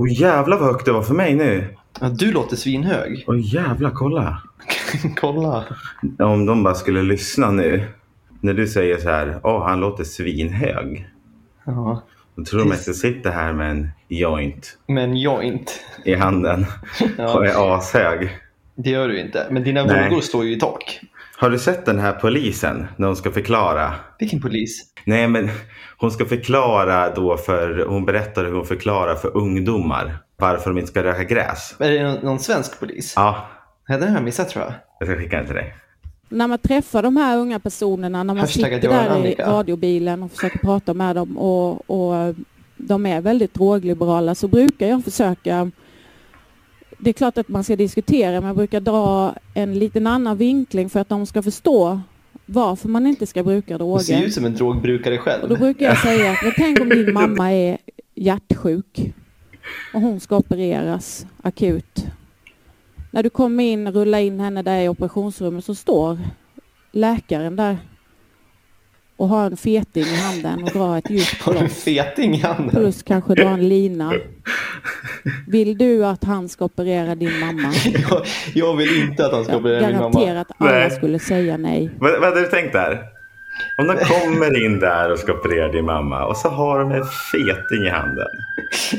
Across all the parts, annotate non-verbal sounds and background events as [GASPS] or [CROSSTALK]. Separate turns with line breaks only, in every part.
Åh jävlar vad högt det var för mig nu.
Ja, du låter svinhög.
[LAUGHS] Åh jävlar, kolla.
Kolla.
Om de bara skulle lyssna nu. När du säger så här, åh han låter svinhög.
Ja.
Då tror de att jag sitter här med en joint
Men jag inte.
i handen och
Ja,
är ashög.
det gör du inte. Men dina
Nej.
vågor står ju i tak.
Har du sett den här polisen när hon ska förklara?
Vilken polis?
Nej, men hon ska förklara då för, hon berättar hur hon förklarar för ungdomar varför de inte ska röka gräs.
Är det någon, någon svensk polis?
Ja,
Ja, den har jag missat tror jag.
jag ska skicka den till dig.
När man träffar de här unga personerna, när man
Hashtag att
sitter
jag är
där i
Annika.
radiobilen och försöker prata med dem och, och de är väldigt drogliberala så brukar jag försöka det är klart att man ska diskutera men jag brukar dra en liten annan vinkling för att de ska förstå varför man inte ska bruka
Hon ser ju
droger.
ut som en drogbrukare
Och då
själv.
brukar jag säga att men tänk
[LAUGHS]
om din mamma är hjärtsjuk och hon ska opereras akut. När du kommer in, rullar in henne där i operationsrummet så står läkaren där och har en feting i handen och drar ett
[LAUGHS]
djupt
Har du en
bloss.
feting i handen?
Plus kanske drar en lina. Vill du att han ska operera din mamma?
Jag, jag vill inte att han ska operera min mamma.
Garanterat alla
Nej.
skulle säga nej.
Vad, vad hade du tänkt där? Om de kommer in där och ska operera din mamma och så har de en feting i handen.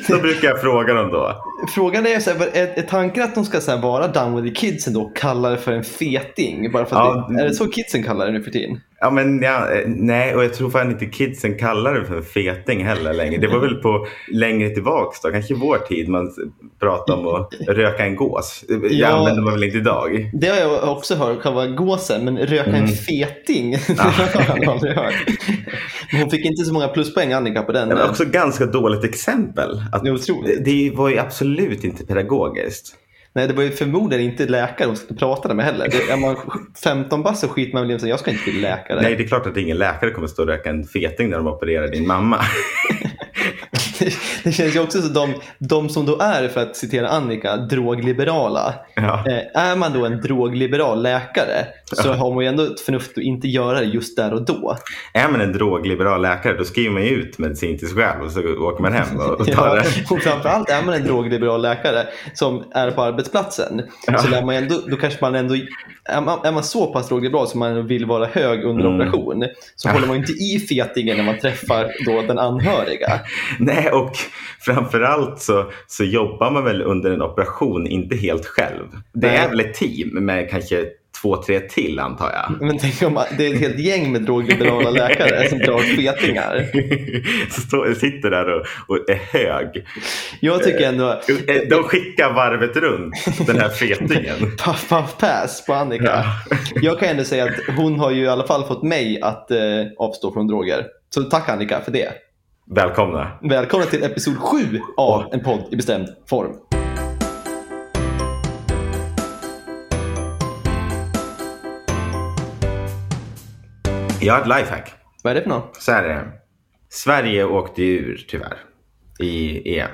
Så brukar jag fråga dem då.
Frågan är, så här, är, är tanken att de ska så här, vara down with the kidsen då och kalla det för en feting? Bara för att
Ja,
det, är det så kidsen kallar det nu för tiden?
Ja, men ja, eh, nej, och jag tror fan inte kidsen kallar det för en feting heller längre. Det var väl på längre tillbaks då, kanske i vår tid man s- pratade om att röka en gås. Det
Ja.
använder man väl inte idag?
Det har jag också hört, själva gåsen, men röka en feting, [LAUGHS] det
Mm. Ah.
har jag aldrig hört. Men hon fick inte så många pluspoäng Annika på den.
Det var också ganska dåligt exempel. Att
Det är otroligt.
det- det var ju absolut inte pedagogiskt.
Nej, det var ju förmodligen inte läkare hon skulle prata med heller. Det, är man 15 bast så skiter man väl i att säga, jag ska inte bli läkare.
Nej, det är klart att ingen läkare kommer stå och röka en feting när de opererar din mamma.
[LAUGHS] Det känns ju också som de, de som då är, för att citera Annika, drogliberala.
Ja.
Eh, är man då en drogliberal läkare så har man ju ändå ett förnuft att inte göra det just där och då.
Är man en drogliberal läkare då skriver man ju ut medicin till sig själv och så åker man hem och och tar
Ja,
det. [LAUGHS]
och framförallt är man en drogliberal läkare som är på arbetsplatsen så lär man ju ändå, då kanske man ändå är man, är man så pass drogliberal som man vill vara hög under
Mm.
operation så håller man ju inte i fetingen när man träffar då den anhöriga.
Nej, och framförallt så, så jobbar man väl under en operation inte helt själv. Det
Nej.
är väl ett team med kanske två, tre till antar jag.
Men tänk om det är ett helt gäng med drogliberala [LAUGHS] läkare som drar fetingar.
[LAUGHS] Så står- sitter där och, och är hög. Eh,
Jag tycker ändå
De skickar varvet runt, den
[LAUGHS]
här fetingen.
Puff puff pass på Annika.
Ja.
Jag kan ändå säga att hon har ju i alla fall fått mig att eh, avstå från droger. Så tack Annika för det.
Välkomna.
Välkomna till episod 7 av En podd i bestämd form.
Jag har ett lifehack.
Vad är det för något?
Så här är det. Sverige åkte ju ur tyvärr i EM.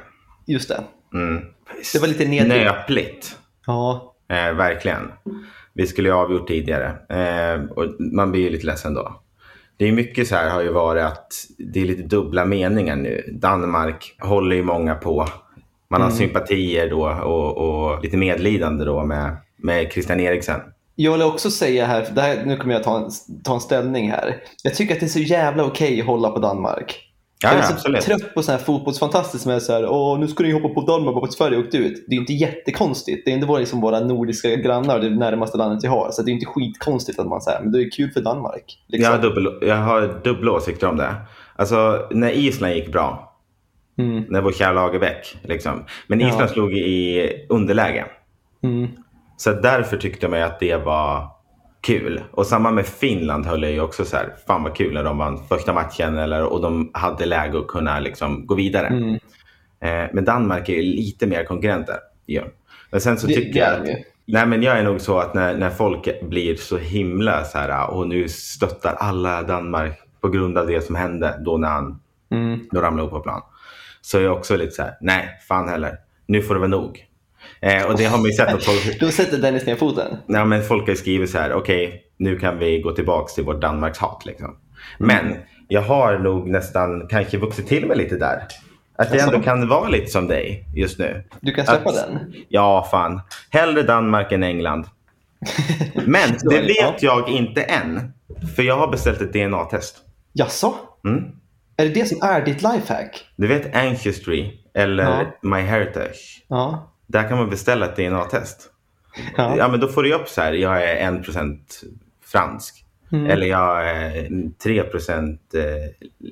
Just det.
Mm.
Det var lite nedrig.
Nöpligt.
Ja.
Eh, verkligen. Vi skulle ju ha avgjort tidigare. Eh, och man blir ju lite ledsen då. Det är mycket så här har ju varit att det är lite dubbla meningar nu. Danmark håller ju många på. Man
Mm.
har sympatier då och, och lite medlidande då med, med Christian Eriksen.
Jag vill också säga här, för det här nu kommer jag ta en, ta en ställning här. Jag tycker att det är så jävla okej att hålla på Danmark.
Ja,
jag
ja,
är så
absolut.
trött på sådana här fotbollsfantaster som är så här, Åh, nu ska ni hoppa på Danmark och Sverige åkte ut. Det är ju inte jättekonstigt. Det är ändå våra, liksom, våra nordiska grannar, det närmaste landet vi har. Så det är ju inte skitkonstigt att man säger, men det är kul för Danmark.
Jag
Liksom.
har, dubbel, jag har dubbla åsikter om det. Alltså när Island gick bra,
Mm,
när vår kära Lagerbäck. Liksom. Men
Ja.
Island slog i underläge.
mm.
Så därför tyckte man ju att det var kul. Och samma med Finland höll jag ju också så här, fan vad kul när de vann första matchen eller, och de hade läge att kunna liksom, gå vidare.
Mm.
Eh, men Danmark är ju lite mer konkurrenter. Ja. Men sen så
Det-
tycker
det är
jag
de ju.
att, nej men jag är nog så att när, när folk blir så himla så här, och nu stöttar alla Danmark på grund av det som hände då när han
Mm.
då ramlar jag på plan. Så är jag också lite så här, nej, fan heller. Nu får det vara nog. Eh, och det har man ju sett att folk,
Då sätter Dennis ner foten.
nej, men folk har ju skrivit så här, okej, nu kan vi gå tillbaka till vårt Danmarks hat. Liksom. Men jag har nog nästan kanske vuxit till mig lite där. Att jag ändå kan vara lite som dig just nu.
Du kan släppa
Att-
den?
Ja, fan. Hellre Danmark än
[LAUGHS]
England. Men
Så
det
är det,
vet jag inte än. För jag har beställt ett DNA-test.
Jaså?
Mm.
Är det det som är ditt lifehack?
Du vet Ancestry eller MyHeritage.
Ja.
Där kan man beställa ett DNA-test. Ja.
ja.
men då får du ju upp så här, jag är 1% fransk.
Mm.
Eller jag är 3% eh,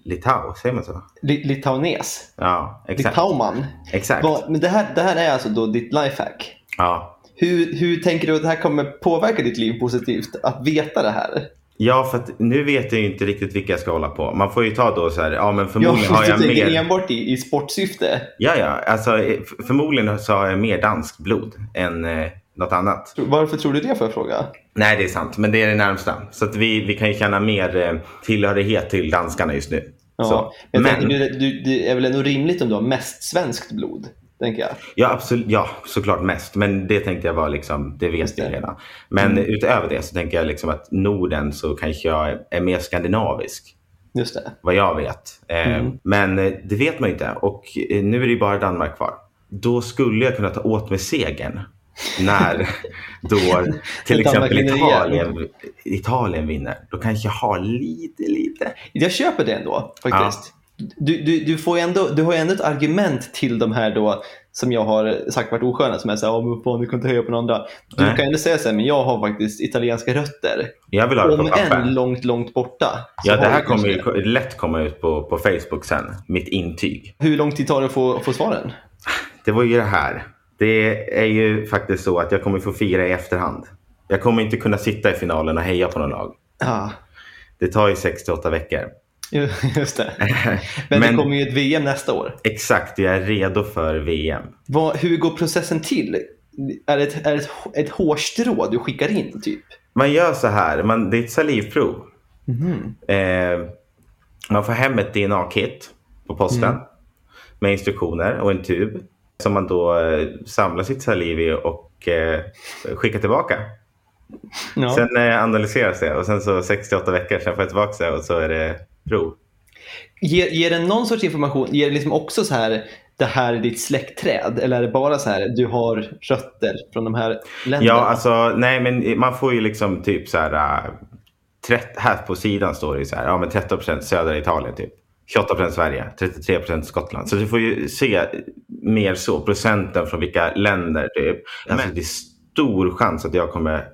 litau, säger man så?
Li- Litaunes.
Ja, exakt.
Litauman.
Exakt.
Vad- Men det här, det här är alltså då ditt lifehack.
Ja.
Hur, hur tänker du att det här kommer påverka ditt liv positivt? Att veta det
Mm,
här?
ja, för att nu vet jag ju inte riktigt vilka jag ska hålla på. Man får ju ta då så här, ja men förmodligen
[LAUGHS]
har
du
jag
tänker
mer.
enbart i, i sportsyfte.
Ja, ja, alltså eh, f- förmodligen så har jag mer dansk blod än eh, något annat.
Varför tror du det får jag fråga?
Nej, det är sant. Men det är det närmsta. Så att vi, vi kan ju känna mer eh, tillhörighet till danskarna just nu.
Ja.
Så.
Men,
Men,
jag tänker, du, du, det är väl ändå rimligt om du har mest svenskt blod? Tänker jag.
ja, absolut, ja, såklart mest. Men det tänkte jag var liksom, det vet
Just
jag
det. Mm.
redan. Men utöver det så tänker jag liksom att Norden så kanske jag är mer skandinavisk.
Just det.
Vad jag vet. Eh,
Mm.
Men eh, det vet man ju inte. Och eh, nu är det ju bara Danmark kvar. Då skulle jag kunna ta åt mig segern.
[LAUGHS]
När då till
Danmark
exempel
vinner igen.
Italien, Italien vinner. Då kanske jag har lite, lite.
Jag köper det ändå faktiskt. Du, du, du, får ju ändå, du har ju ändå ett argument till de här då som jag har sagt varit osköna som är såhär, oh, men fan du kan inte höja på någon andra. Du
Nej.
kan ju ändå säga såhär, men jag har faktiskt italienska rötter.
Jag vill ha det på
Om än
papper.
långt, långt borta. så
Ja,
har
det här
du kanske
kommer ju lätt komma ut på, på Facebook sen. Mitt intyg.
Hur lång tid tar det att få, få svaren?
Det var ju det här. Det är ju faktiskt så att jag kommer få fira i efterhand. Jag kommer inte kunna sitta i finalen och heja på någon lag.
Ja,
Det tar ju 6 till 8 veckor.
Ah, ju-
[LAUGHS]
just det. Men,
Men-
det kommer ju ett VM nästa år.
Exakt, jag är redo för VM.
Vad, hur går processen till? Är det ett, är det ett, ett hårstrå du skickar in typ?
Man gör så här, man, det är ett salivprov. Eh, man får hem ett DNA-kit på posten med instruktioner och en tub som man då eh, samlar sitt saliv i och eh, skickar tillbaka.
Ja.
Sen eh, analyseras det och sen så 68 veckor, sen får jag tillbaka det och så är det prov.
Ger, ger den någon sorts information? Ger det liksom också så här, det här är ditt släktträd? Eller är det bara så här, du har rötter från de här länderna?
Ja, alltså nej men man får ju liksom typ så här, äh, trett, här på sidan står det ju så här, ja men 13 södra Italien typ. 28 Sverige, 33 Skottland. Så du får ju se mer så, procenten från vilka länder typ. Alltså det är stor chans att jag kommer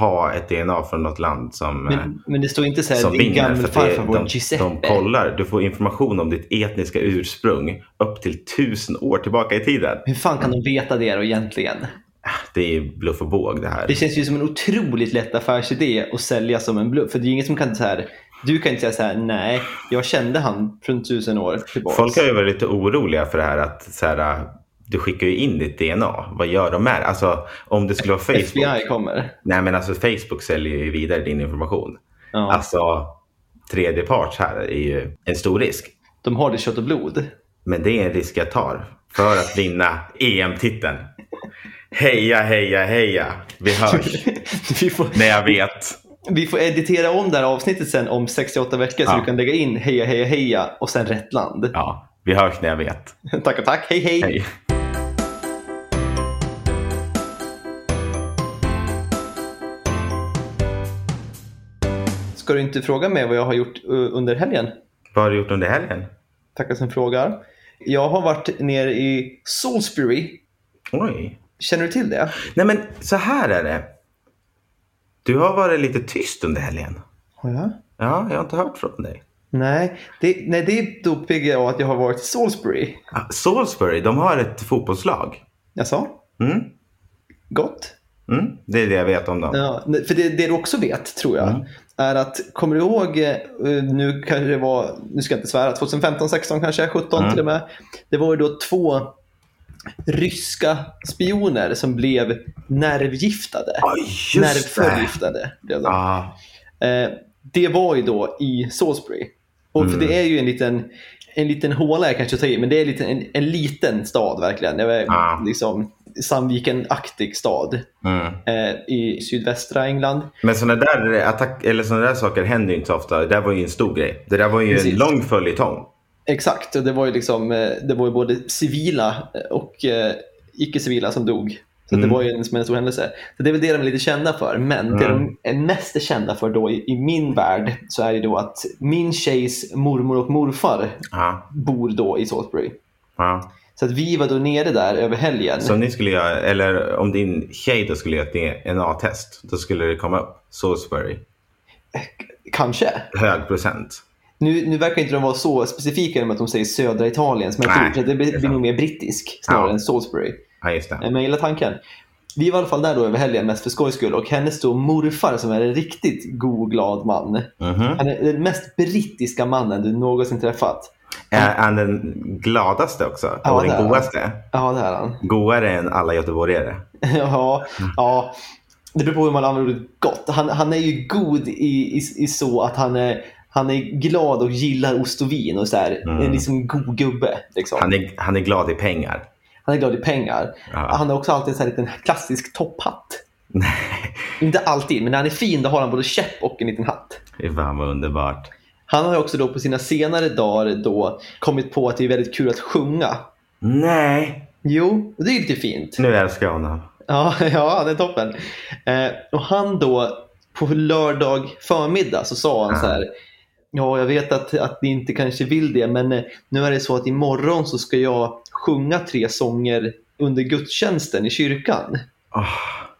ha ett DNA från något land som... eh,
men, men det står inte så här,
som
din
vinner. För att det,
gammelfarfar, vår
de,
Giuseppe.
de kollar. Du får information om ditt etniska ursprung upp till tusen år tillbaka i tiden.
Hur fan kan de veta det då egentligen?
Det är bluff och båg det här.
Det känns ju som en otroligt lätt affärsidé att sälja som en bluff. För det är ingen som kan så här, du kan inte säga så här, nej, jag kände han från tusen år tillbaka.
Folk har ju varit lite oroliga för det här att så här, äh, du skickar ju in ditt DNA. Vad gör de med det? Alltså om det skulle vara Facebook.
FBI kommer.
Nej men alltså Facebook säljer ju vidare din information.
Ja.
Alltså tredjeparts här är ju en stor risk.
De har det kött och blod. [LAUGHS]
Men det är en risk jag tar för att vinna EM-titeln. Heja, heja, heja. Vi hörs.
vi, får,
när jag vet.
vi får editera om det här avsnittet sen om 68 veckor så
Ja.
du kan lägga in heja, heja, heja och sen rätt land.
Ja, vi hörs när jag vet.
[LAUGHS] tack och tack, hej. hej.
Hej.
Ska du inte fråga mig vad jag har gjort eh, under helgen?
Vad har du gjort under helgen?
Tackar som frågar. Jag har varit nere i Salisbury.
Oj.
Känner du till det?
Nej, men så här är det. Du har varit lite tyst under helgen.
Har jag?
Ja, jag har inte hört från dig. Nej.
Nej, det, nej, det är då PGA att jag har varit i Salisbury.
Ah, Salisbury, de har ett fotbollslag.
Jaså?
Mm.
Gott?
Mm. Det är det jag vet om dem.
Ja, nej, för det, det du också vet, tror jag,
Mm.
är att, kommer du ihåg, eh, nu kanske det var, nu ska jag inte svära, 2015, 16 kanske, 17
Mm.
till och med. Det var ju då två ryska spioner som blev nervgiftade.
Ja, Ah, just det. Ah,
Nervförgiftade blev de.
Ja,
Eh, det var ju då i Salisbury. Och
Mm.
för det är ju en liten, en liten håla jag kanske tar i, men det är en liten, en, en liten stad verkligen. Det är
Ah.
liksom Sandviken-aktig stad
mm.
eh, i sydvästra England.
Men sådana där, attack, eller såna där saker händer ju inte så ofta. Det där var ju en stor grej. Det där var ju
Precis.
en lång följetong.
Exakt, och det var ju liksom, eh, det var ju både civila och eh, icke-civila som dog. Så att
Mm.
det var ju en, som en stor händelse. Så det är väl det de är lite kända för. Men det
Mm.
de är mest kända för då i, i min värld så är det då att min tjejs mormor och morfar
Ja,
bor då i Salisbury.
ja.
Så att vi var då nere där över helgen.
Så om ni skulle göra, eller om din tjej då skulle göra ett DNA-test, då skulle det komma upp Salisbury.
Kanske.
Hög procent.
Nu, nu verkar inte de vara så specifika genom att de säger södra Italien, som jag
Nej,
tror. Så det
det är
blir, blir
sant.
nog mer brittisk snarare
Ja.
än Salisbury.
Ja, just det.
Eh, Men jag gillar tanken. Vi var i alla fall där då över helgen mest för skojs skull och hennes då morfar som är en riktigt god och glad man.
Mhm.
Han är den mest brittiska mannen du någonsin träffat.
Är han den gladaste också?
Ja,
och
det är
den
han.
godaste?
Ja, det är han. [LAUGHS]
Godare än alla göteborgare?
ja, ja. Det beror på hur man använder ordet gott. Han, han är ju god i, i, i så att han är, han är glad och gillar ost och vin och så här, en liksom god gubbe. Liksom.
Mm. Han är, han är glad i pengar.
Han är glad i pengar.
Ja.
Han har också alltid en sån här liten
[LAUGHS]
klassisk topphatt. Inte alltid, men när han är fin då har han både käpp och en liten hatt.
Det är fan vad underbart.
Han har också då på sina senare dagar då kommit på att det är väldigt kul att sjunga.
Nej,
Jo, och det är ju lite fint.
nu älskar jag honom.
Ja, [LAUGHS] ja det är toppen. Eh, och han då, på lördag förmiddag så sa han
Ja.
så här. Ja, jag vet att, att ni inte kanske vill det, men eh, nu är det så att imorgon så ska jag sjunga tre sånger under gudstjänsten i kyrkan.
Åh,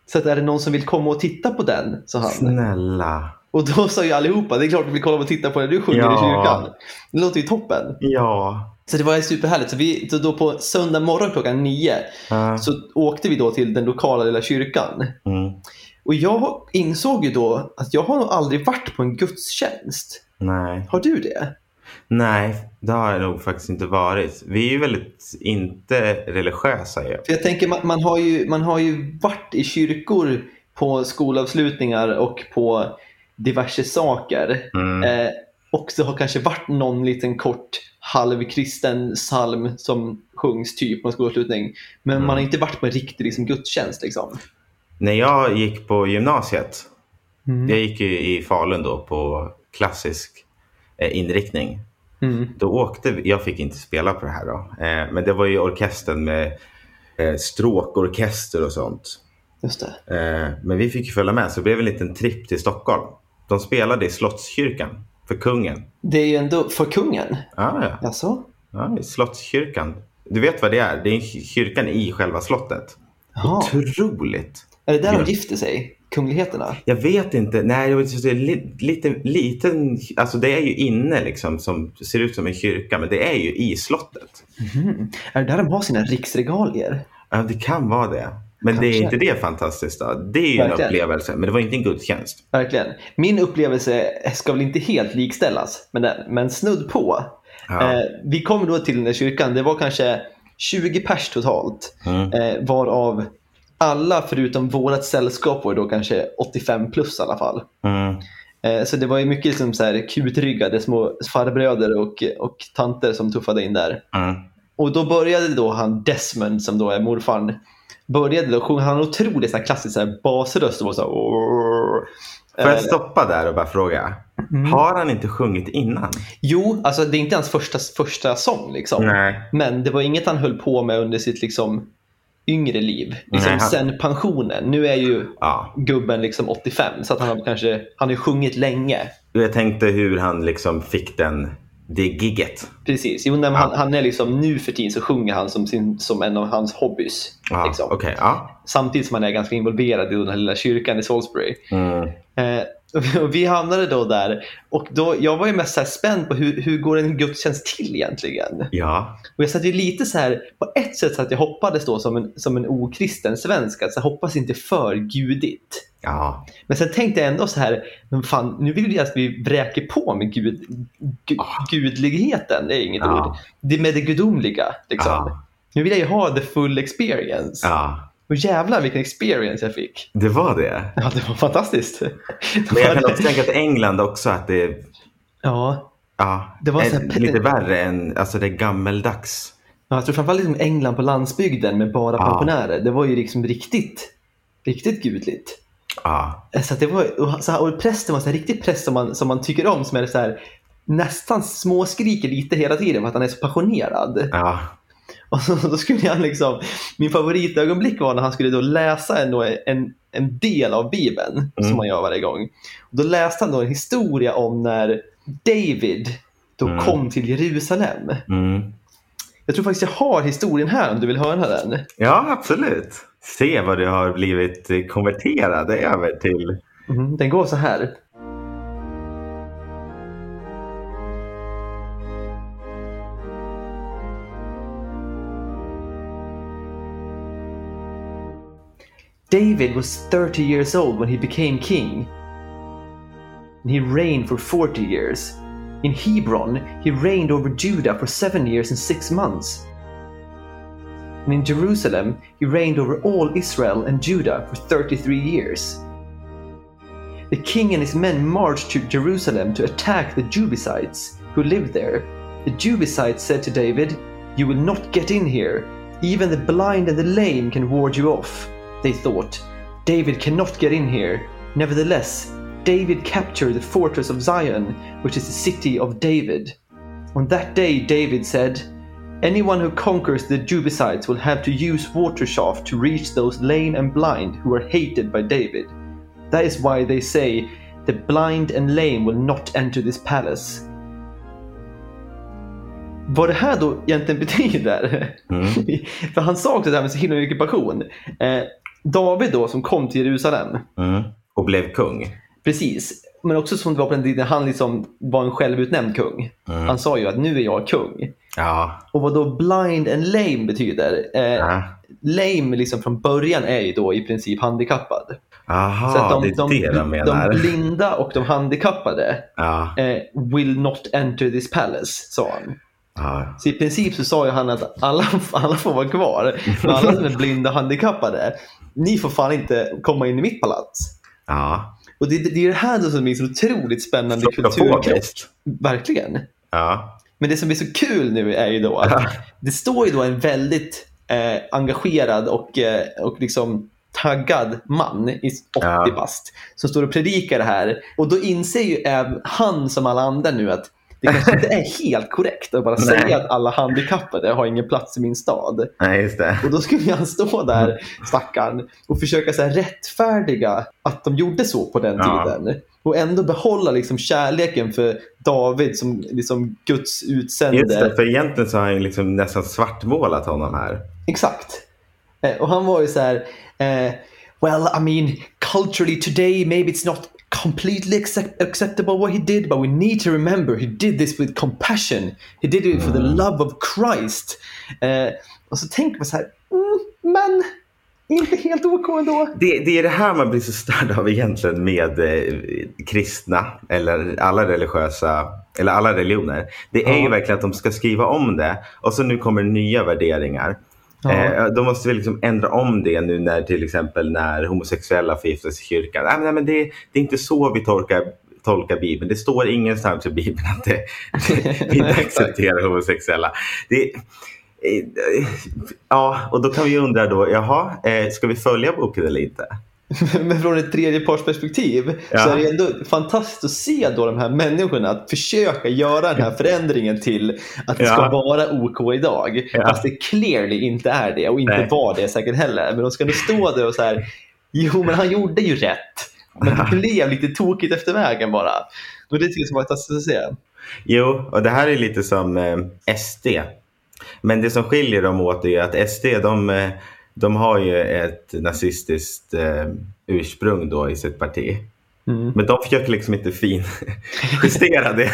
Så att är det någon som vill komma och titta på den? sa han.
snälla.
Och då sa ju allihopa, det är klart vi vill kolla och titta på när du sjunger
Ja.
i kyrkan. Det låter ju toppen.
Ja.
Så det var ju superhärligt. Så vi, så då på söndag morgon klockan nio
Ja.
så åkte vi då till den lokala lilla kyrkan.
Mm.
Och jag insåg ju då att jag har nog aldrig varit på en gudstjänst.
Nej.
Har du det?
Nej, det har jag nog faktiskt inte varit. Vi är ju väldigt inte religiösa ju.
För jag tänker, man, man, har ju, man har ju varit i kyrkor på skolavslutningar och på diverse saker.
Mm.
Eh, och det har kanske varit någon liten kort halvkristen psalm som sjungs typ på en skolavslutning. Men man har
Mm.
inte varit på en riktig liksom, gudstjänst. Liksom.
När jag gick på gymnasiet,
Mm.
jag gick ju i Falun då på klassisk eh, inriktning.
Mm.
Då åkte vi, jag fick inte spela på det här då, eh, men det var ju orkestern med eh, stråkorkester och sånt.
Just det.
Eh, men vi fick ju följa med så det blev en liten tripp till Stockholm. De spelade i Slottskyrkan för kungen.
Det är ju ändå för kungen.
Ah, ja.
Alltså?
Ja, i Slottskyrkan. Du vet vad det är? Det är kyrkan i själva slottet.
Jaha.
Otroligt.
Är det där
Ja.
de gifter sig? Kungligheterna?
Jag vet inte. Nej, det var- det är li- liten, liten, alltså det är ju inne liksom som ser ut som en kyrka, men det är ju i slottet.
Är det där de har sina riksregalier?
Ja, det kan vara det. Men det är
Kanske.
inte det fantastiskt då? Det är ju en
Verkligen.
upplevelse, men det var inte en gudstjänst.
Verkligen. Min upplevelse ska väl inte helt likställas med den, men snudd på.
Ja.
Eh, vi kom då till den där kyrkan. Det var kanske 20 pers totalt.
Mm.
Eh, varav alla förutom vårt sällskap var då kanske 85 plus i alla fall.
Mm.
Eh, så det var ju mycket liksom så här kutryggade små farbröder och, och tanter som tuffade in där.
Mm.
Och då började då han Desmond, som då är morfarn, började då sjunga. Han har en otroligt sån här klassisk så här basröst. Och var så här, "Åh."
Får
Eh, Mm.
jag stoppa där och bara fråga? Har han inte sjungit innan?
Jo, alltså det är inte hans första, första sång. Liksom.
Nej.
Men det var inget han höll på med under sitt liksom, yngre liv. Liksom,
Nej, han-
Sen pensionen. Nu är ju
Ja.
gubben liksom 85, så att han har kanske han har ju sjungit länge.
Jag tänkte hur han liksom fick den, det gigget.
Precis. Jo, nej, men han, han är liksom, nu för tiden så sjunger han som, sin, som en av hans hobbys.
Ja,
liksom.
Okej, ja.
Samtidigt som han är ganska involverad i den här lilla kyrkan i Salisbury.
Mm.
Eh, [LAUGHS] och vi hamnade då där. Och då, jag var ju mest så här spänd på hur, hur går en gudstjänst till egentligen?
Ja.
Och jag satt ju lite så här, på ett sätt så att jag hoppades då som en, som en okristen svensk, att så här, hoppas inte för gudigt.
Ja.
Men sen tänkte jag ändå så här, men fan, nu vill jag att vi vräker på med gud, gu,
Ah.
gudligheten, det är inget
Ja.
ord. Det med det gudomliga. Liksom.
Ja.
Nu vill jag ju ha the full experience.
ja.
Och jävlar vilken experience jag fick.
Det var det.
Ja, det var fantastiskt.
Men jag kan också tänka att England också att det,
[LAUGHS] Ja,
ja,
Det var
är
så här-
lite värre än alltså det gammeldags.
Ja, jag tror framförallt liksom England på landsbygden med bara
Ja.
pensionärer. Det var ju liksom riktigt, riktigt gudligt. Eh,
Ja.
Så att det var, och, så här, och prästen var så här, riktigt präst som man, som man tycker om. Som är så här, nästan småskriker lite hela tiden för att han är så passionerad. [LAUGHS]
Ja.
Och så, då skulle han liksom, min favoritögonblick var när han skulle då läsa en, en, en del av Bibeln,
Mm.
som han gör varje gång. Och då läste han då en historia om när David då
Mm.
kom till Jerusalem.
Mm.
Jag tror faktiskt jag har historien här om du vill höra den.
ja, absolut. Se vad du har blivit eh, konverterad över till.
Mm, den går så här. David was 30 years old when he became king. And he reigned for 40 years. In Hebron, he reigned over Judah for seven years and six months. And in Jerusalem, he reigned over all Israel and Judah for 33 years. The king and his men marched to Jerusalem to attack the Jebusites who lived there. The Jebusites said to David, You will not get in here. Even the blind and the lame can ward you off. They thought, David cannot get in here. Nevertheless, David captured the fortress of Zion, which is the city of David. On that day, David said, Anyone who conquers the Jebusites will have to use water shaft to reach those lame and blind who are hated by David. That is why they say the blind and lame will not enter this palace. Vad det här då egentligen [LAUGHS] betyder, [LAUGHS] för han sa också det här med så himla mycket passion. Eh, David då som kom till Jerusalem,
Mm. Och blev kung.
precis, men också som det var på den tiden han liksom var en självutnämnd kung. Han sa ju att nu är jag kung.
Ja.
Och vad då blind and lame betyder, eh,
Ja.
lame liksom från början är ju då i princip handikappad. Så
Aha,
att de,
Ah, det är det de menar.
de blinda och de handikappade
Ja,
eh, will not enter this palace, sa han.
ja.
Så i princip så sa ju han att alla, alla får vara kvar, men alla som är blinda och handikappade, ni får fan inte komma in i mitt palats.
ja.
Och det, det är det här då som är så otroligt spännande kulturkrock.
Kulturkrock.
Verkligen.
Ja.
Men det som är så kul nu är ju då att det står ju då en väldigt eh, engagerad och, eh, och liksom taggad man i 80
Ja.
bast som står och predikar det här. Och då inser ju även han som alla andra nu att det kanske inte
[LAUGHS]
är helt korrekt att bara
Nej.
säga att alla handikappade har ingen plats i min stad.
Nej, just det.
Och då skulle han stå
Mm.
där, stackaren, och försöka så här rättfärdiga att de gjorde så på den
Ja.
tiden. Och ändå behålla liksom kärleken för David som liksom Guds
Just det,
utsände.
för egentligen så har han ju liksom nästan svartmålat honom här.
Exakt. Eh, Och han var ju så här, eh, well I mean culturally today maybe it's not completely accept- acceptable what he did but we need to remember he did this with compassion. He did it for the
Mm.
love of Christ. Eh, och så tänker man så här, mm, men inte helt OK ändå.
Det, det är det här man blir så störd av egentligen med eh, kristna eller alla religiösa eller alla religioner. Det är
Ja.
ju verkligen att de ska skriva om det och så nu kommer nya värderingar.
Ja.
Eh, de måste väl liksom ändra om det nu när till exempel när homosexuella förgiftas i kyrkan. Nej, men- nej, men det, det är inte så vi tolkar, tolkar Bibeln. Det står ingenstans i Bibeln att det, [LAUGHS] vi inte
Exakt.
accepterar homosexuella. Det, eh, eh, ja, och då kan vi ju undra då, jaha, eh, ska vi följa boken eller inte?
[LAUGHS] Men från ett tredjepartsperspektiv så
Ja.
är det ändå fantastiskt att se då de här människorna att försöka göra den här förändringen till att det ska
Ja.
vara OK idag.
Ja.
Fast det clearly inte är det och inte
Nej.
var det säkert heller. Men de ska nu stå där och så här, jo men han gjorde ju rätt. Men
[LAUGHS]
det blev lite tokigt efter vägen bara. Och det tycker jag som var fantastiskt att se.
Jo, och det här är lite som eh, SD. Men det som skiljer dem åt är att SD, de, eh, de har ju ett nazistiskt eh, ursprung då i sitt parti.
Mm.
Men de försöker liksom inte [LAUGHS] finjustera [LAUGHS] det.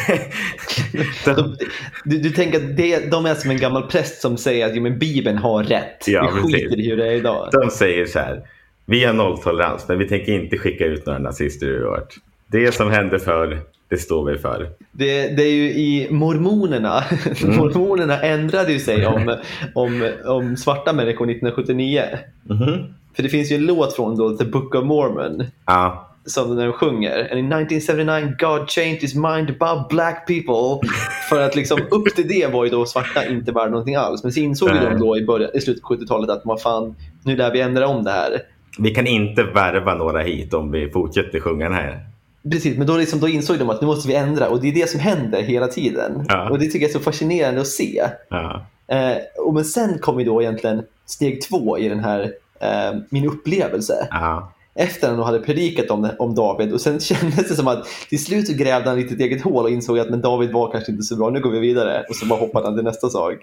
De, du, du tänker att det, de är som en gammal präst som säger att jo, men Bibeln har rätt.
Ja,
Vi skiter
precis.
i hur det är idag.
De säger så här, vi har nolltolerans, men vi tänker inte skicka ut några nazister ur vårt. Det som hände förr, det står vi för.
Det, det är ju i mormonerna.
Mm.
[LAUGHS] mormonerna ändrade ju sig om, om, om svarta människor 1979.
Mhm.
För det finns ju en låt från då, The Book of Mormon
Ja,
som de sjunger. And in 1979 God changed his mind about black people. För att liksom upp till det var ju då svarta inte värda någonting alls. Men så insåg ju
Nej.
de då i, början, i slutet av 70-talet att vad fan, nu lär vi ändra om det här.
vi kan inte värva några hit om vi fortsätter sjunga den här.
Precis, men då, liksom, då insåg de att nu måste vi ändra och det är det som händer hela tiden.
Ja.
Och det tycker jag är så fascinerande att se.
Ja.
Eh, och men sen kom ju då egentligen steg två i den här eh, min upplevelse.
Ja.
Efter han då hade predikat om, om David och sen [LAUGHS] kändes det som att till slut så grävde han lite ett eget hål och insåg att men David var kanske inte så bra, nu går vi vidare. Och så bara hoppade han till nästa sak.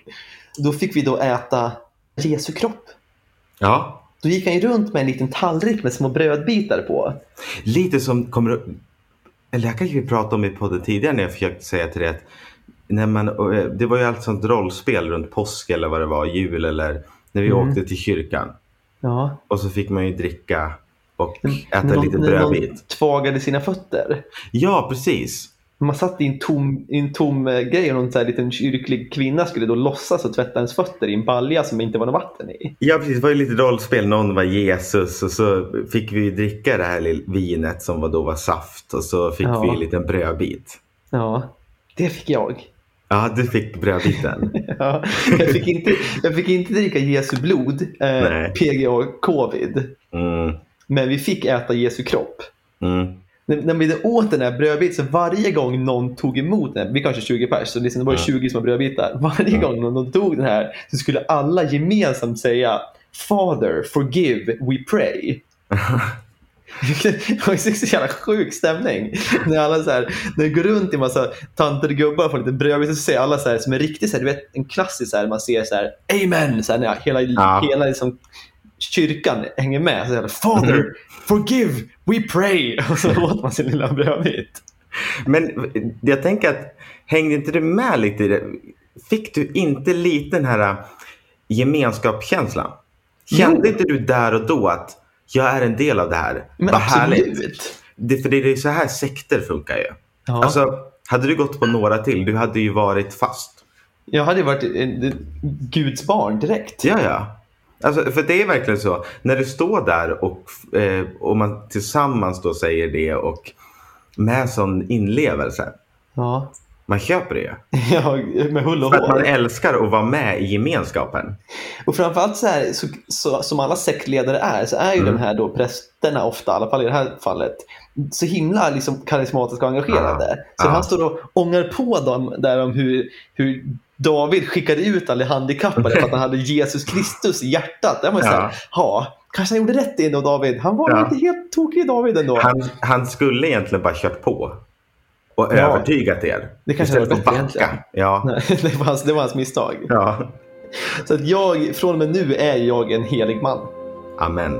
Då fick vi då äta Jesu kropp.
ja.
Då gick han ju runt med en liten tallrik med små brödbitar på.
Lite som kommer upp... Eller det här kanske vi pratade om i podden tidigare när jag försökte säga till dig att när man, eh, det var ju allt sånt rollspel runt påsk eller vad det var, jul eller när vi
Mm.
åkte till kyrkan.
Ja.
Och så fick man ju dricka och äta
Någon-
lite
någon
brödbit.
tvagade sina fötter.
Ja, precis.
Man satt i en tom, i en tom eh, grej och någon så här liten kyrklig kvinna skulle då låtsas att tvätta ens fötter i en balja som inte var något vatten i.
Ja, precis. Det var ju lite rollspel. Någon var Jesus och så fick vi dricka det här lill- vinet som var- då var saft och så fick
Ja.
vi en liten brödbit.
Ja, det fick jag. [LAUGHS]
Ja, du fick brödbiten.
Ja, jag, fick inte, jag fick inte dricka Jesu blod, eh,
Nej.
PGA covid,
Mm,
men vi fick äta Jesu kropp.
mm,
När, när vi åt den här brödbiten, så varje gång någon tog emot den, vi kanske 20 pers, så liksom det var ju
Ja.
20 små brödbitar. [LAUGHS] Varje
Ja.
gång någon tog den här så skulle alla gemensamt säga Father, forgive, we pray. [LAUGHS] Det var ju så jävla sjuk stämning. När alla så här, när det går runt i massa tanter och gubbar får lite brödbit så säger alla så här, som en riktig, så här, du vet, en klassisk, så här, man ser så här, amen, så här, när hela,
Ja.
hela liksom, kyrkan hänger med. Så här, Father, forgive, we pray. [LAUGHS] Och så åt man sin lilla brödbit.
Men jag tänker att hängde inte du med lite i det? Fick du inte lite den här äh, gemenskapskänslan? Kände
Jo.
inte du där och då att jag är en del av det här?
Men
Vad
absolut.
härligt. Det, för det är ju så här sekter funkar ju.
Ja.
Alltså, hade du gått på några till, du hade ju varit fast.
jag hade ju varit en, en, Guds barn direkt.
Ja, ja. Alltså, för det är verkligen så. När du står där och, eh, och man tillsammans då säger det och med sån inlevelse.
Ja. [LAUGHS]
Man köper det ju.
Ja, med hull och
För att
hår.
man älskar att vara med i gemenskapen.
Och framförallt så här, så, så, som alla sektledare är, så är ju
Mm.
de här då prästerna ofta, i alla fall i det här fallet, så himla liksom karismatiska och engagerade.
Ja.
Så
Ja.
han står och ångar på dem där om hur, hur David skickade ut alla handikappade för att han hade Jesus Kristus i hjärtat. Där var man så här,
Ja.
ja, kanske han gjorde rätt ändå David. Han var
Ja.
inte helt tokig David ändå.
Han, han skulle egentligen bara kört på och
Ja.
övertygat er.
Det kanske
Istället
hade
för att
varit
backa.
bättre
Ja.
Nej, [LAUGHS] det, var hans, det var hans misstag.
ja.
Så att jag, från och med nu är jag en helig man.
Amen.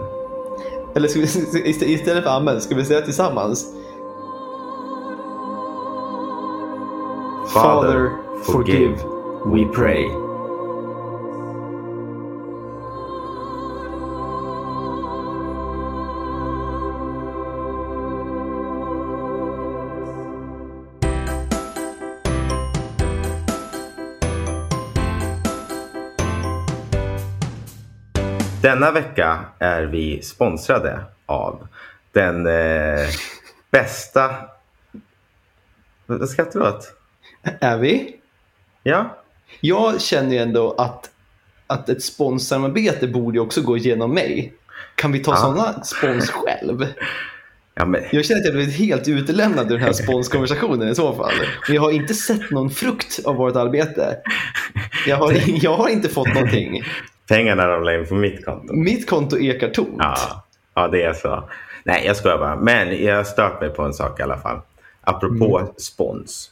Eller ska vi, [LAUGHS] ist- istället för amen, ska vi säga tillsammans? Father, forgive.
We pray. Denna vecka är vi sponsrade av den eh, bästa... Vad skrattar du åt?
Är vi?
Ja,
Jag känner ju ändå att, att ett sponssamarbete borde ju också gå genom mig. Kan vi ta
Ja.
sådana spons själv?
ja men
Jag känner att jag blivit helt utelämnad i den här sponskonversationen i så fall. Och jag har inte sett någon frukt av vårt arbete. Jag har, [LAUGHS] jag har inte fått någonting.
pengarna ramlar in på mitt konto.
Mitt konto ekar tomt.
Ja, ja, det är så. Nej, jag skojar bara. Men jag har stört mig på en sak i alla fall. Apropå spons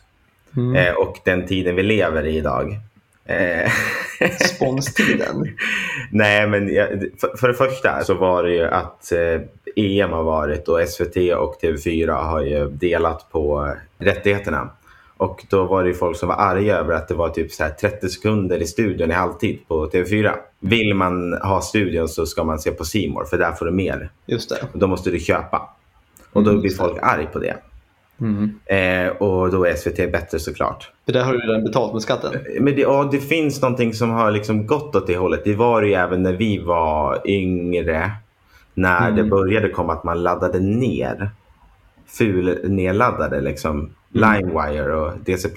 Mm.
eh, och den tiden vi lever i idag. Eh, [LAUGHS]
Sponstiden.
nej, men jag, för, för det första så var det ju att eh, EM har varit och SVT och TV4 har ju delat på rättigheterna. Och då var det ju folk som var arga över att det var typ så här 30 sekunder i studion i halvtid på TV4. Vill man ha studion så ska man se på Simor för där får du mer
Just det.
och då måste du köpa. Och då
Mm,
blir
just det.
folk arg på det.
Mm.
Eh, och då är SVT bättre såklart.
Det där har du redan betalt med skatten.
Men det, ja, det finns någonting som har liksom gått åt det hållet. Det var det ju även när vi var yngre. När det
Mm.
började komma att man laddade ner. Ful nedladdade liksom. Limewire och DC++.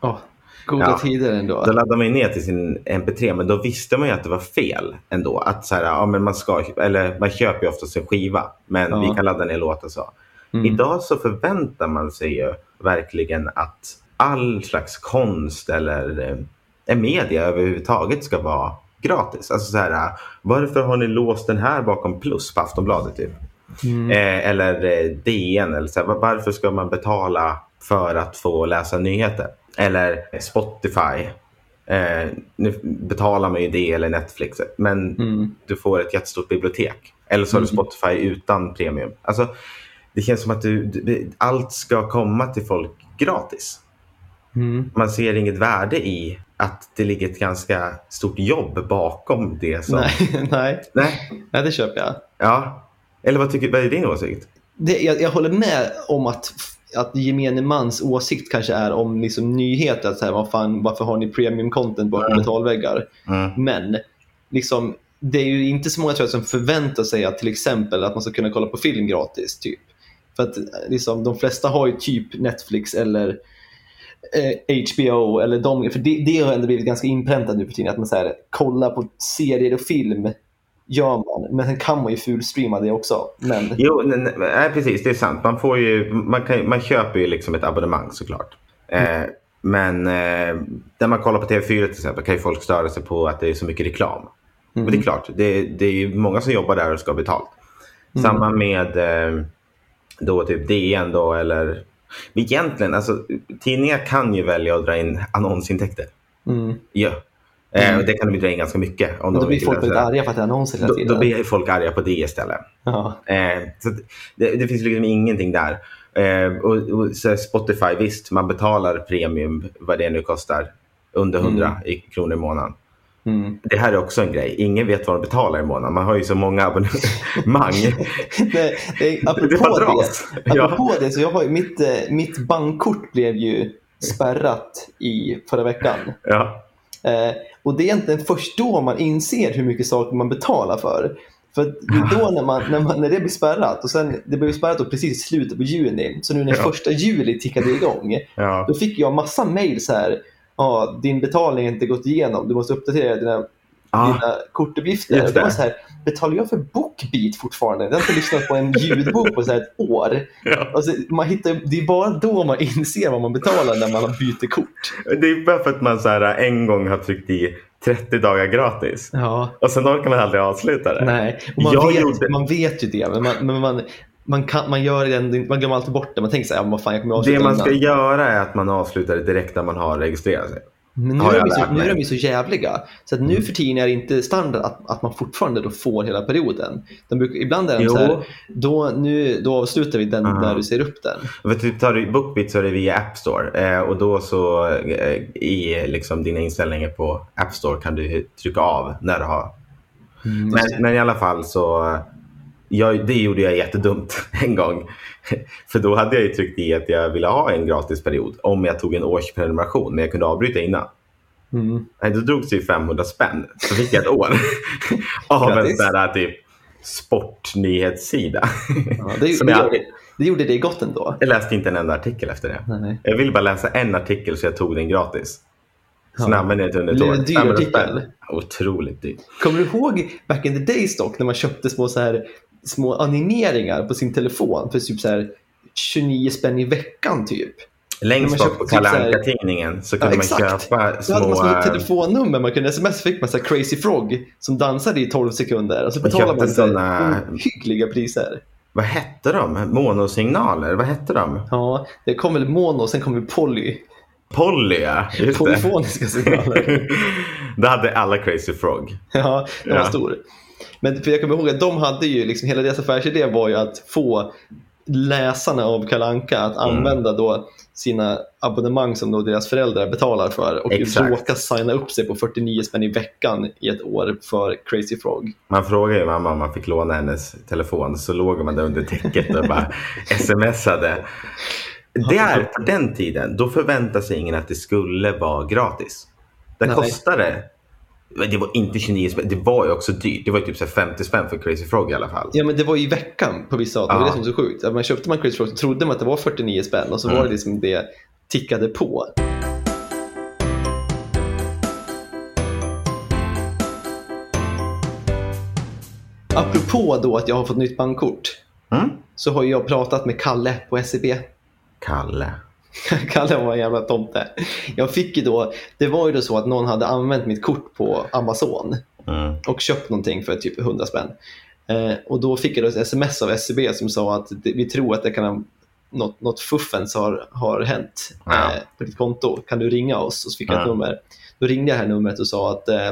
Ja, goda
Ja.
tider ändå.
Då laddade man ju ner till sin MP3 men då visste man ju att det var fel ändå. Att så här, ja, men man, ska, eller man köper ju oftast en skiva men
Ja.
vi kan ladda ner låtar så. Idag så förväntar man sig ju verkligen att all slags konst eller eh, media överhuvudtaget ska vara gratis. Alltså så här, varför har ni låst den här bakom plus på Aftonbladet? Typ? Mm. Eh, eller eh, DN. Eller så här, varför ska man betala för att få läsa nyheter? Eller Spotify. Eh, nu betalar man ju det eller Netflix. Men mm. du får ett jättestort bibliotek. Eller så har du Spotify utan premium. Alltså, det känns som att du, du, allt ska komma till folk gratis. Mm. Man ser inget värde i att det ligger ett ganska stort jobb bakom det. Som...
Nej, [LAUGHS] nej.
nej.
Ja, det köper jag.
Ja. Eller vad, tycker, vad är din åsikt?
Det, jag, jag håller med om att, att gemene mans åsikt kanske är om liksom nyheter. Att så här, vad fan, varför har ni premium content bakom mm. betalväggar? Mm. Men liksom, det är ju inte så många tror jag, som förväntar sig att till exempel att man ska kunna kolla på film gratis. typ. För att liksom, de flesta har ju typ Netflix eller eh, HBO. Eller de, för det, det har ändå blivit ganska inpräntat nu för tiden. Att man så här, kollar på serier och film gör man. Men sen kan man ju fulstreama det också. Men...
Jo, nej, nej, nej, precis. Det är sant. Man, får ju, man, kan, man köper ju liksom ett abonnemang såklart. Mm. Eh, men eh, när man kollar på TV4 till exempel kan ju folk störa sig på att det är så mycket reklam. Mm. Och det är klart, det, det är många som jobbar där och ska ha betalt. Mm. Samma med eh, då typ DN då eller men egentligen, alltså, tidningar kan ju välja att dra in annonsintäkter.
Mm.
Ja. Mm. Eh, det kan de dra in ganska mycket.
Om då blir folk väldigt arga för att det är annonser hela
tiden. Då, då blir folk arga på det istället.
Ja.
Eh, så det, det, finns liksom ingenting där. Eh, och, och Spotify, visst, man betalar premium, vad det nu kostar, under 100 mm. kronor i månaden.
Mm.
Det här är också en grej. Ingen vet vad de betalar i månaden. Man har ju så många abonnemang.
det, det, [LAUGHS] apropå det, det, apropå ja. det så jag har mitt, eh, mitt bankkort blev ju spärrat i förra veckan.
Ja.
Eh, och Det är egentligen först då man inser hur mycket saker man betalar för. För då när, man, när, man, när det blir spärrat, och sen, det blev spärrat då precis i slutet på juni, så nu när ja. första juli tickade igång,
ja.
då fick jag massa mejl så här, ja, din betalning inte gått igenom, du måste uppdatera dina, ah, dina kortuppgifter. Det. det. var så här, betalar jag för BookBeat fortfarande? Jag har inte lyssnat på en ljudbok på så ett år.
Ja.
Alltså, man hittar, det är bara då man inser vad man betalar när man byter kort.
Det är bara för att man så här, äh, en gång har tryckt i 30 dagar gratis.
Ja.
Och sen orkar man aldrig avsluta det.
Nej, och man, jag vet, gjorde... man vet ju det. Men man, men man, man, kan, man, gör den, man glömmer alltid bort det. Man tänker så här, ja, vad fan, jag kommer
avsluta Det man ska innan. göra är att man avslutar det direkt när man har registrerat sig.
Men nu, är de, så, nu är de ju så jävliga. Så att nu mm. för tiden är det inte standard att, att man fortfarande då får hela perioden. De brukar, ibland är de jo. Ah. så här, då, nu, då avslutar vi den när du ser upp den.
För typ tar du BookBeat så är det via App Store. Eh, och då så eh, i liksom dina inställningar på App Store kan du trycka av när du har. Mm. Men, men i alla fall så jag, det gjorde jag jättedumt [LAUGHS] en gång. För då hade jag tryckt i att jag ville ha en gratisperiod om jag tog en årsprenumeration, men jag kunde avbryta innan.
Mm.
Då drogs det 500 spänn, så fick jag ett år [LAUGHS] av en sån här typ, sportnyhetssida.
Ja, det, gjorde, jag, det gjorde det gott ändå.
Jag läste inte en enda artikel efter det.
Nej, nej.
Jag ville bara läsa en artikel så jag tog den gratis. Så ja. använde jag det under ett år.
Dyr artikel.
Otroligt dyrt.
Kommer du ihåg back in the days dock när man köpte små så här små animeringar på sin telefon för typ så här 29 spänn i veckan typ.
Längst bak på Kalle typ tidningen så kunde ja, man köpa små... eh,
Då hade man små telefonnummer. Man kunde sms fick man så Crazy Frog som dansade i 12 sekunder. Och så betalade man sådana...
eh,
hyggliga priser.
Vad hette de? Monosignaler? Vad hette de?
Ja, det kom väl mono sen kom väl poly.
Polly, ja.
Polyfoniska signaler.
det [LAUGHS] hade alla Crazy Frog.
[LAUGHS] Ja, den var ja. stor. Men för jag kommer ihåg att de hade ju, liksom, hela deras affärsidé var ju att få läsarna av Kalanka att mm. använda då sina abonnemang som då deras föräldrar betalar för och Exakt. råka signa upp sig på 49 spänn i veckan i ett år för Crazy Frog.
Man frågar ju mamma om man fick låna hennes telefon så låg man där under täcket och bara smsade. Där, på den tiden, då förväntade sig ingen att det skulle vara gratis. Det Nej. kostade det var inte 29 spänn. Det var ju också dyrt. Det var typ 50 spänn för Crazy Frog i alla fall.
Ja, men det var i veckan på vissa avtal. Det var det som var så sjukt. Man köpte man Crazy Frog så trodde man att det var 49 spänn och så mm. var det liksom det tickade på. Apropå då att jag har fått nytt bankkort.
Mm.
så har jag pratat med Kalle på SEB.
Kalle.
[LAUGHS] Kalle var en jävla tomte. Jag fick ju då, det var ju då så att någon hade använt mitt kort på Amazon
Mm.
och köpt någonting för typ 100 spänn. Eh, och då fick jag då ett sms av SCB som sa att det, vi tror att det kan ha, något, något fuffens har, har hänt
Ja.
eh, på ditt konto. Kan du ringa oss? Och så fick jag ett
Ja.
nummer. Då ringde jag det här numret och sa att eh,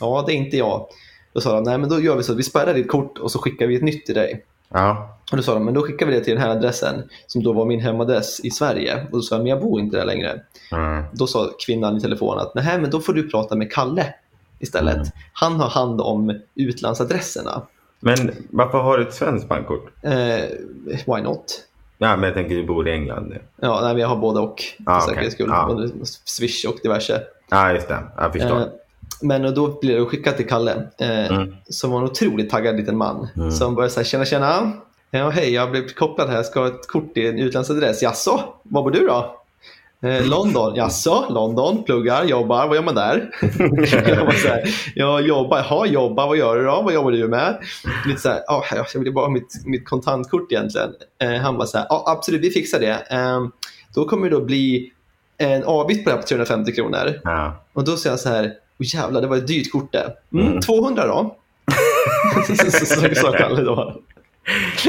ja, det är inte jag. Då sa de, nej men då gör vi så att vi spärrar ditt kort och så skickar vi ett nytt till dig.
Ja.
Och då sa de, men då skickar vi det till den här adressen som då var min hemadress i Sverige. Och då sa jag, men jag bor inte där längre.
Mm.
Då sa kvinnan i telefon att nej, men då får du prata med Kalle istället.
Mm.
Han har hand om utlandsadresserna.
Men varför har du ett svenskt bankkort?
Eh, why not?
Nej, men jag tänker du bor i England nu.
Ja, nej, men jag har både och för
Ah, okej.
säkerhets skull.
Ah.
Både Swish och diverse.
Ja, just det. Jag förstår.
Eh, men och då blev det skickat till Kalle eh,
Mm.
som var en otroligt taggad liten man
Mm.
som började säga tjena tjena. Ja, hej, jag blev kopplad här. Jag ska ha ett kort till en utlandsadress. Jaså, var bor du då? Eh, London. Jaså, London. Pluggar, jobbar. Vad gör man där? jag var så här, jag jobbar. Jaha, jobbar. Vad gör du då? Vad jobbar du med? Lite så här, "Ja, jag vill bara ha mitt, mitt kontantkort egentligen. Eh, han var så här, ja absolut, vi fixar det. Eh, då kommer det då bli en avgift på det här på 350 kronor.
Ja.
Och då säger jag så här, oh, jävlar det var ett dyrt kort det. Mm,
Mm.
200 då? så så- så sa Kalle då.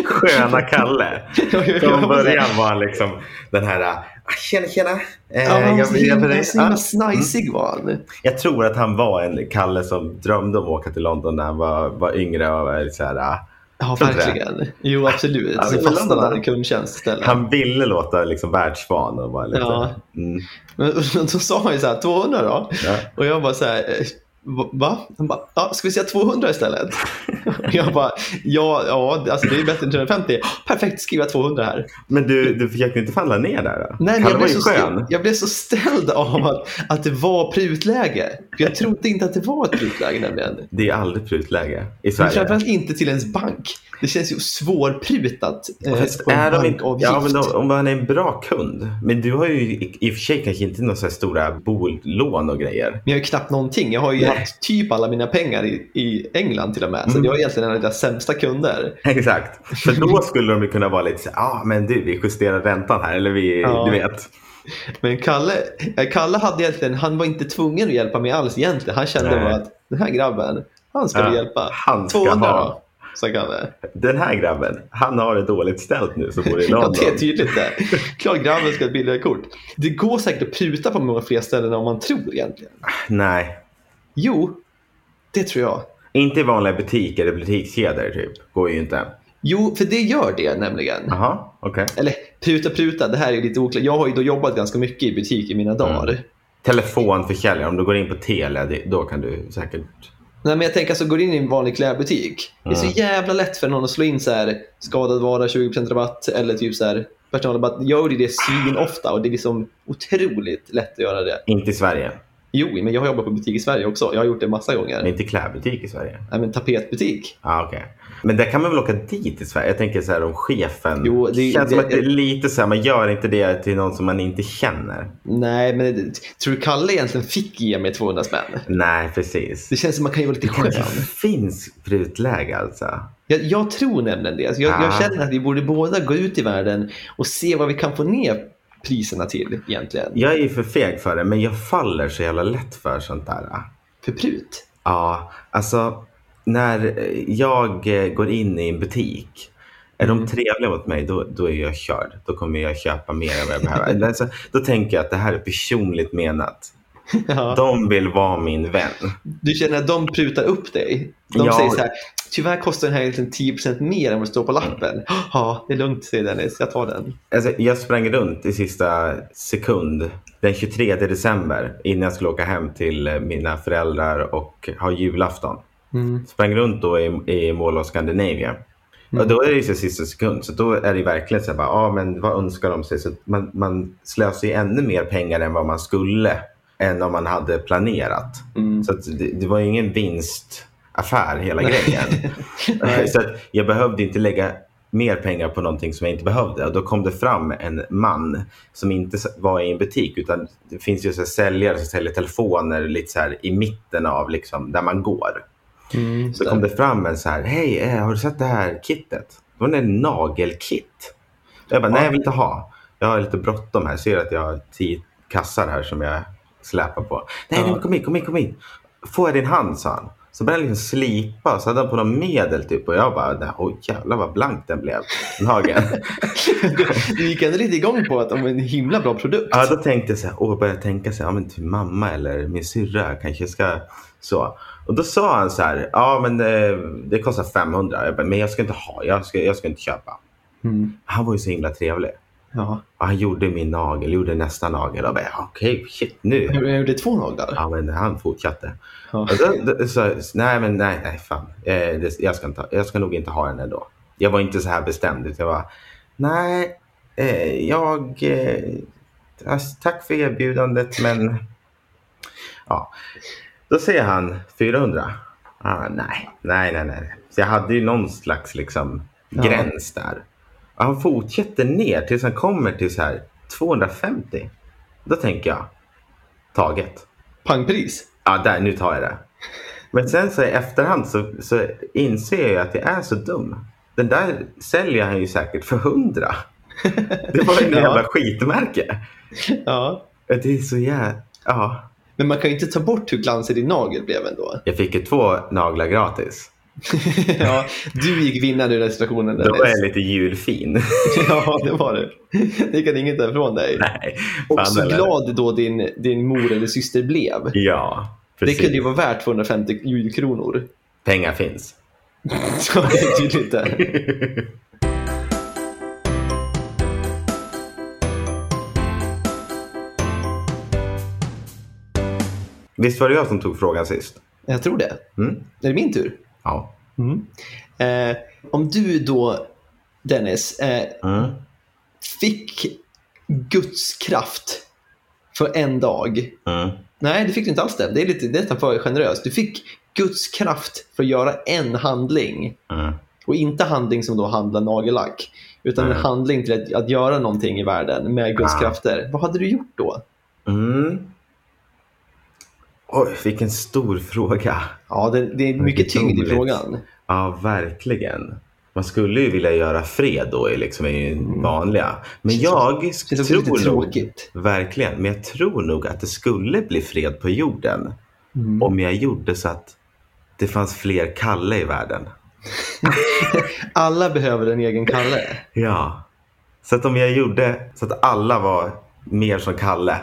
Sköna Kalle.
[LAUGHS]
Från början var han liksom den här... "Ah, Tjena, tjena. Eh,
Ja, han var
jag,
så
vill- jag,
himla,
vill-
så himla
ja.
snajsig var han.
jag tror att han var en Kalle som drömde om att åka till London när han var, var yngre. Och var så här, ah,
Ja,
Tror du det?
verkligen. Jo, absolut.
Ja,
Så
men
fastnade han
London-
i kundtjänst istället.
han ville låta liksom världsvan. Och var lite,
Ja.
mm,
Men då sa han ju så här, 200 då?
ja.
Och jag bara så här, eh, va- va? Han bara, ja, ska vi säga 200 istället? Och jag bara, ja, ja alltså det är bättre än 350. Perfekt, skriva 200 här.
Men du, du försökte inte falla ner där? Då?
Nej, men
Kalle
jag,
var
blev
ju
så
skön.
jag blev så ställd av att, att det var prutläge. För jag trodde inte att det var ett prutläge nämligen.
Det är aldrig prutläge i
Men
Sverige.
framförallt inte till ens bank. Det känns ju svårprutat eh,
Och fast
på en
är de inte,
bankavgift.
ja, men då, om man är en bra kund. Men du har ju i, i och för sig kanske inte några så här stora bolån och grejer.
Men jag har ju knappt någonting. Jag har ju
Nej.
gett typ alla mina pengar i, i England till och med. Så
Mm.
jag är egentligen en av deras sämsta kunder.
[LAUGHS] Exakt. För då skulle de ju kunna vara lite så ja ah, men du, vi justerar räntan här. Eller vi,
Ja.
du vet.
Men Kalle, eh, Kalle hade egentligen, han var inte tvungen att hjälpa mig alls egentligen. Han kände
Nej.
bara att den här grabben, han ska
Ja,
vi hjälpa.
han ska
200
ha.
då, sa Kalle.
Den här grabben, han har det dåligt ställt nu som bor i
[LAUGHS] Ja,
London.
det är typ- tydligt det. Klart grabben ska ha ett billigare kort. Det går säkert att pruta på många fler ställen än man tror egentligen.
Nej,
Jo, det tror jag.
inte i vanliga butiker eller butikskedjor typ. Går ju inte.
Jo, för det gör det nämligen.
Jaha, okej.
Eller pruta pruta, det här är ju lite oklart. Jag har ju då jobbat ganska mycket i butik i mina dagar.
Telefonförsäljare, om du går in på Telia, det- då kan du säkert...
Nej, men jag tänker alltså, går in i en vanlig klädbutik. Det är
Mm.
så jävla lätt för någon att slå in så här skadad vara 20% rabatt eller typ så här personalrabatt. Jag gjorde det svin ofta och det är liksom otroligt lätt att göra det.
Inte i Sverige.
Jo, men jag har jobbat på butik i Sverige också. Jag har gjort det massa gånger.
Men inte i klädbutik i Sverige.
Nej, men tapetbutik.
Ja, okej. Men där kan man väl åka dit i Sverige? Jag tänker så här om chefen.
Jo, det-
känns som
det-
att det är lite så här, man gör inte det till någon som man inte känner.
Nej, men det- tror du Kalle egentligen fick ge mig 200 spänn?
Nej, precis.
Det känns som man kan ju vara lite skön.
Det finns prutläge alltså.
Jag, jag tror nämligen det. Så Jag, jag
Ah.
känner att vi borde båda gå ut i världen och se vad vi kan få ner priserna till egentligen.
Jag är ju för feg för det, men jag faller så jävla lätt för sånt där.
För prut.
Ja, alltså när eh, jag eh, går in i en butik är
Mm.
de trevliga mot mig, då, då är jag körd. Då kommer jag köpa mer än vad jag behöver. Eller Alltså, då tänker jag att det här är personligt menat.
[LAUGHS] Ja.
De vill vara min vän.
Du känner att de prutar upp dig. De
Ja.
säger så här, tyvärr kostar den här egentligen 10% mer än vad det står på lappen. [GASPS] Ja, det är lugnt, säger Dennis. Jag tar den.
Alltså, jag sprang runt i sista sekund den 23 december innan jag skulle åka hem till eh, mina föräldrar och ha julafton.
Mm.
Sprang runt då i, i Mall of Scandinavia.
Mm.
Och då är det ju så sista sekund, så då är det ju verkligen så här, bara, ah, men vad önskar de sig? Så att man, man slösar ju ännu mer pengar än vad man skulle, än om man hade planerat.
Mm.
Så att det, det var ju ingen vinstaffär hela
[LAUGHS]
grejen.
Nej.
så att jag behövde inte lägga mer pengar på någonting som jag inte behövde. Och då kom det fram en man som inte s- var i en butik utan det finns ju så här säljare som säljer telefoner lite så här i mitten av liksom där man går.
Mm, just
Så
det.
kom det fram en så här, hej, eh, har du sett det här kittet? Det var en nagelkit. Jag bara, nej jag vill inte ha. Jag har lite bråttom här. Ser att jag har tio kassar här som jag släpar på. Nej, nej men kom hit, kom hit, kom hit. Får jag din hand, sa han. Så började han liksom slipa så hade han på någon medel typ. Och jag bara, "Det här- oj jävlar vad blank den blev. Nageln.
[LAUGHS] Du gick ändå lite igång på att det var en himla bra produkt.
Ja, då tänkte jag så här, åh, jag började tänka så här, ja, men till mamma eller min syrra kanske ska så. Och då sa han så här, ja men eh, det kostar 500. Jag bara, men jag ska inte ha, jag ska, jag ska inte köpa.
Mm.
Han var ju så himla trevlig.
Ja.
Ja, han gjorde min nagel, gjorde nästa nagel. Jag bara, ja, okej, shit nu.
Jag gjorde två naglar.
Ja, men han fortsatte.
Ja.
Och då, då, så, nej, men nej, nej, fan. Eh, det, jag, ska inte, ha- jag ska nog inte ha den ändå. Jag var inte så här bestämd. Utan jag var, nej, eh, jag... Eh, ass- tack för erbjudandet, men... Ja. Då säger han 400. Ah, nej, nej, nej, nej. Så jag hade ju någon slags liksom,
Ja.
gräns där. Och han fortsätter ner tills han kommer till så här 250. Då tänker jag, taget.
Pangpris.
Ja, där, nu tar jag det. Men sen så i efterhand så, så inser jag att jag är så dum. Den där säljer han ju säkert för hundra. Det var ju en
[LAUGHS] Ja.
jävla skitmärke.
Ja.
Det är så jävla... Ja.
Men man kan ju inte ta bort hur glansig din nagel blev
[LAUGHS]
ändå.
Jag fick ju två naglar gratis.
ja, du gick vinnande i den situationen.
Då var jag
Dennis.
lite julfin.
[LAUGHS] ja, det var du. Det kan inget ta ifrån dig.
Nej. fan
Och så
eller?
glad då din, din mor eller syster blev.
Ja, precis.
Det kunde ju vara värt 250 julkronor. [LAUGHS]
Pengar finns.
Så det är tydligt inte.
Visst var det jag som tog frågan sist?
Jag tror det.
Mm?
Är det min tur?
Ja.
Eh, om du då, Dennis, eh,
Mm.
fick Guds kraft för en dag.
Mm.
Nej, det fick du inte alls. Det, det är lite det är nästan för generöst. Du fick Guds kraft för att göra en handling.
Mm.
Och inte handling som då handlar nagellack. Utan en
Mm.
handling till att, att göra någonting i världen med Guds
Ah.
krafter. Vad hade du gjort då?
Mm. Oj, vilken stor fråga.
Ja, det, det är mycket tyngd i
Otroligt.
frågan.
Ja, verkligen. Man skulle ju vilja göra fred då, är liksom är ju
Mm.
vanliga. Men jag
Känns också lite
tror nog,
tråkigt.
verkligen, men jag tror nog att det skulle bli fred på jorden
Mm.
om jag gjorde så att det fanns fler Kalle i världen.
Alla behöver en egen [LAUGHS] Kalle.
Ja. Så att om jag gjorde så att alla var mer som Kalle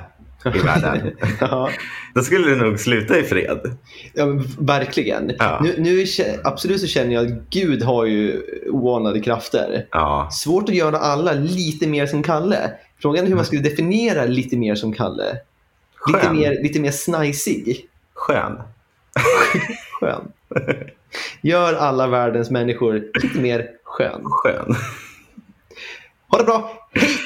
i
[LAUGHS]
världen,
ja.
då skulle det nog sluta i fred.
Ja, men verkligen.
Ja.
Nu, nu, kä- absolut så känner jag att Gud har ju oanade krafter.
Ja.
Svårt att göra alla lite mer som Kalle. Frågan är hur man skulle definiera lite mer som Kalle. Lite
Skön.
mer, lite mer snajsig.
Skön.
Skön. Gör alla världens människor lite mer skön.
Skön.
Ha det bra! Hej!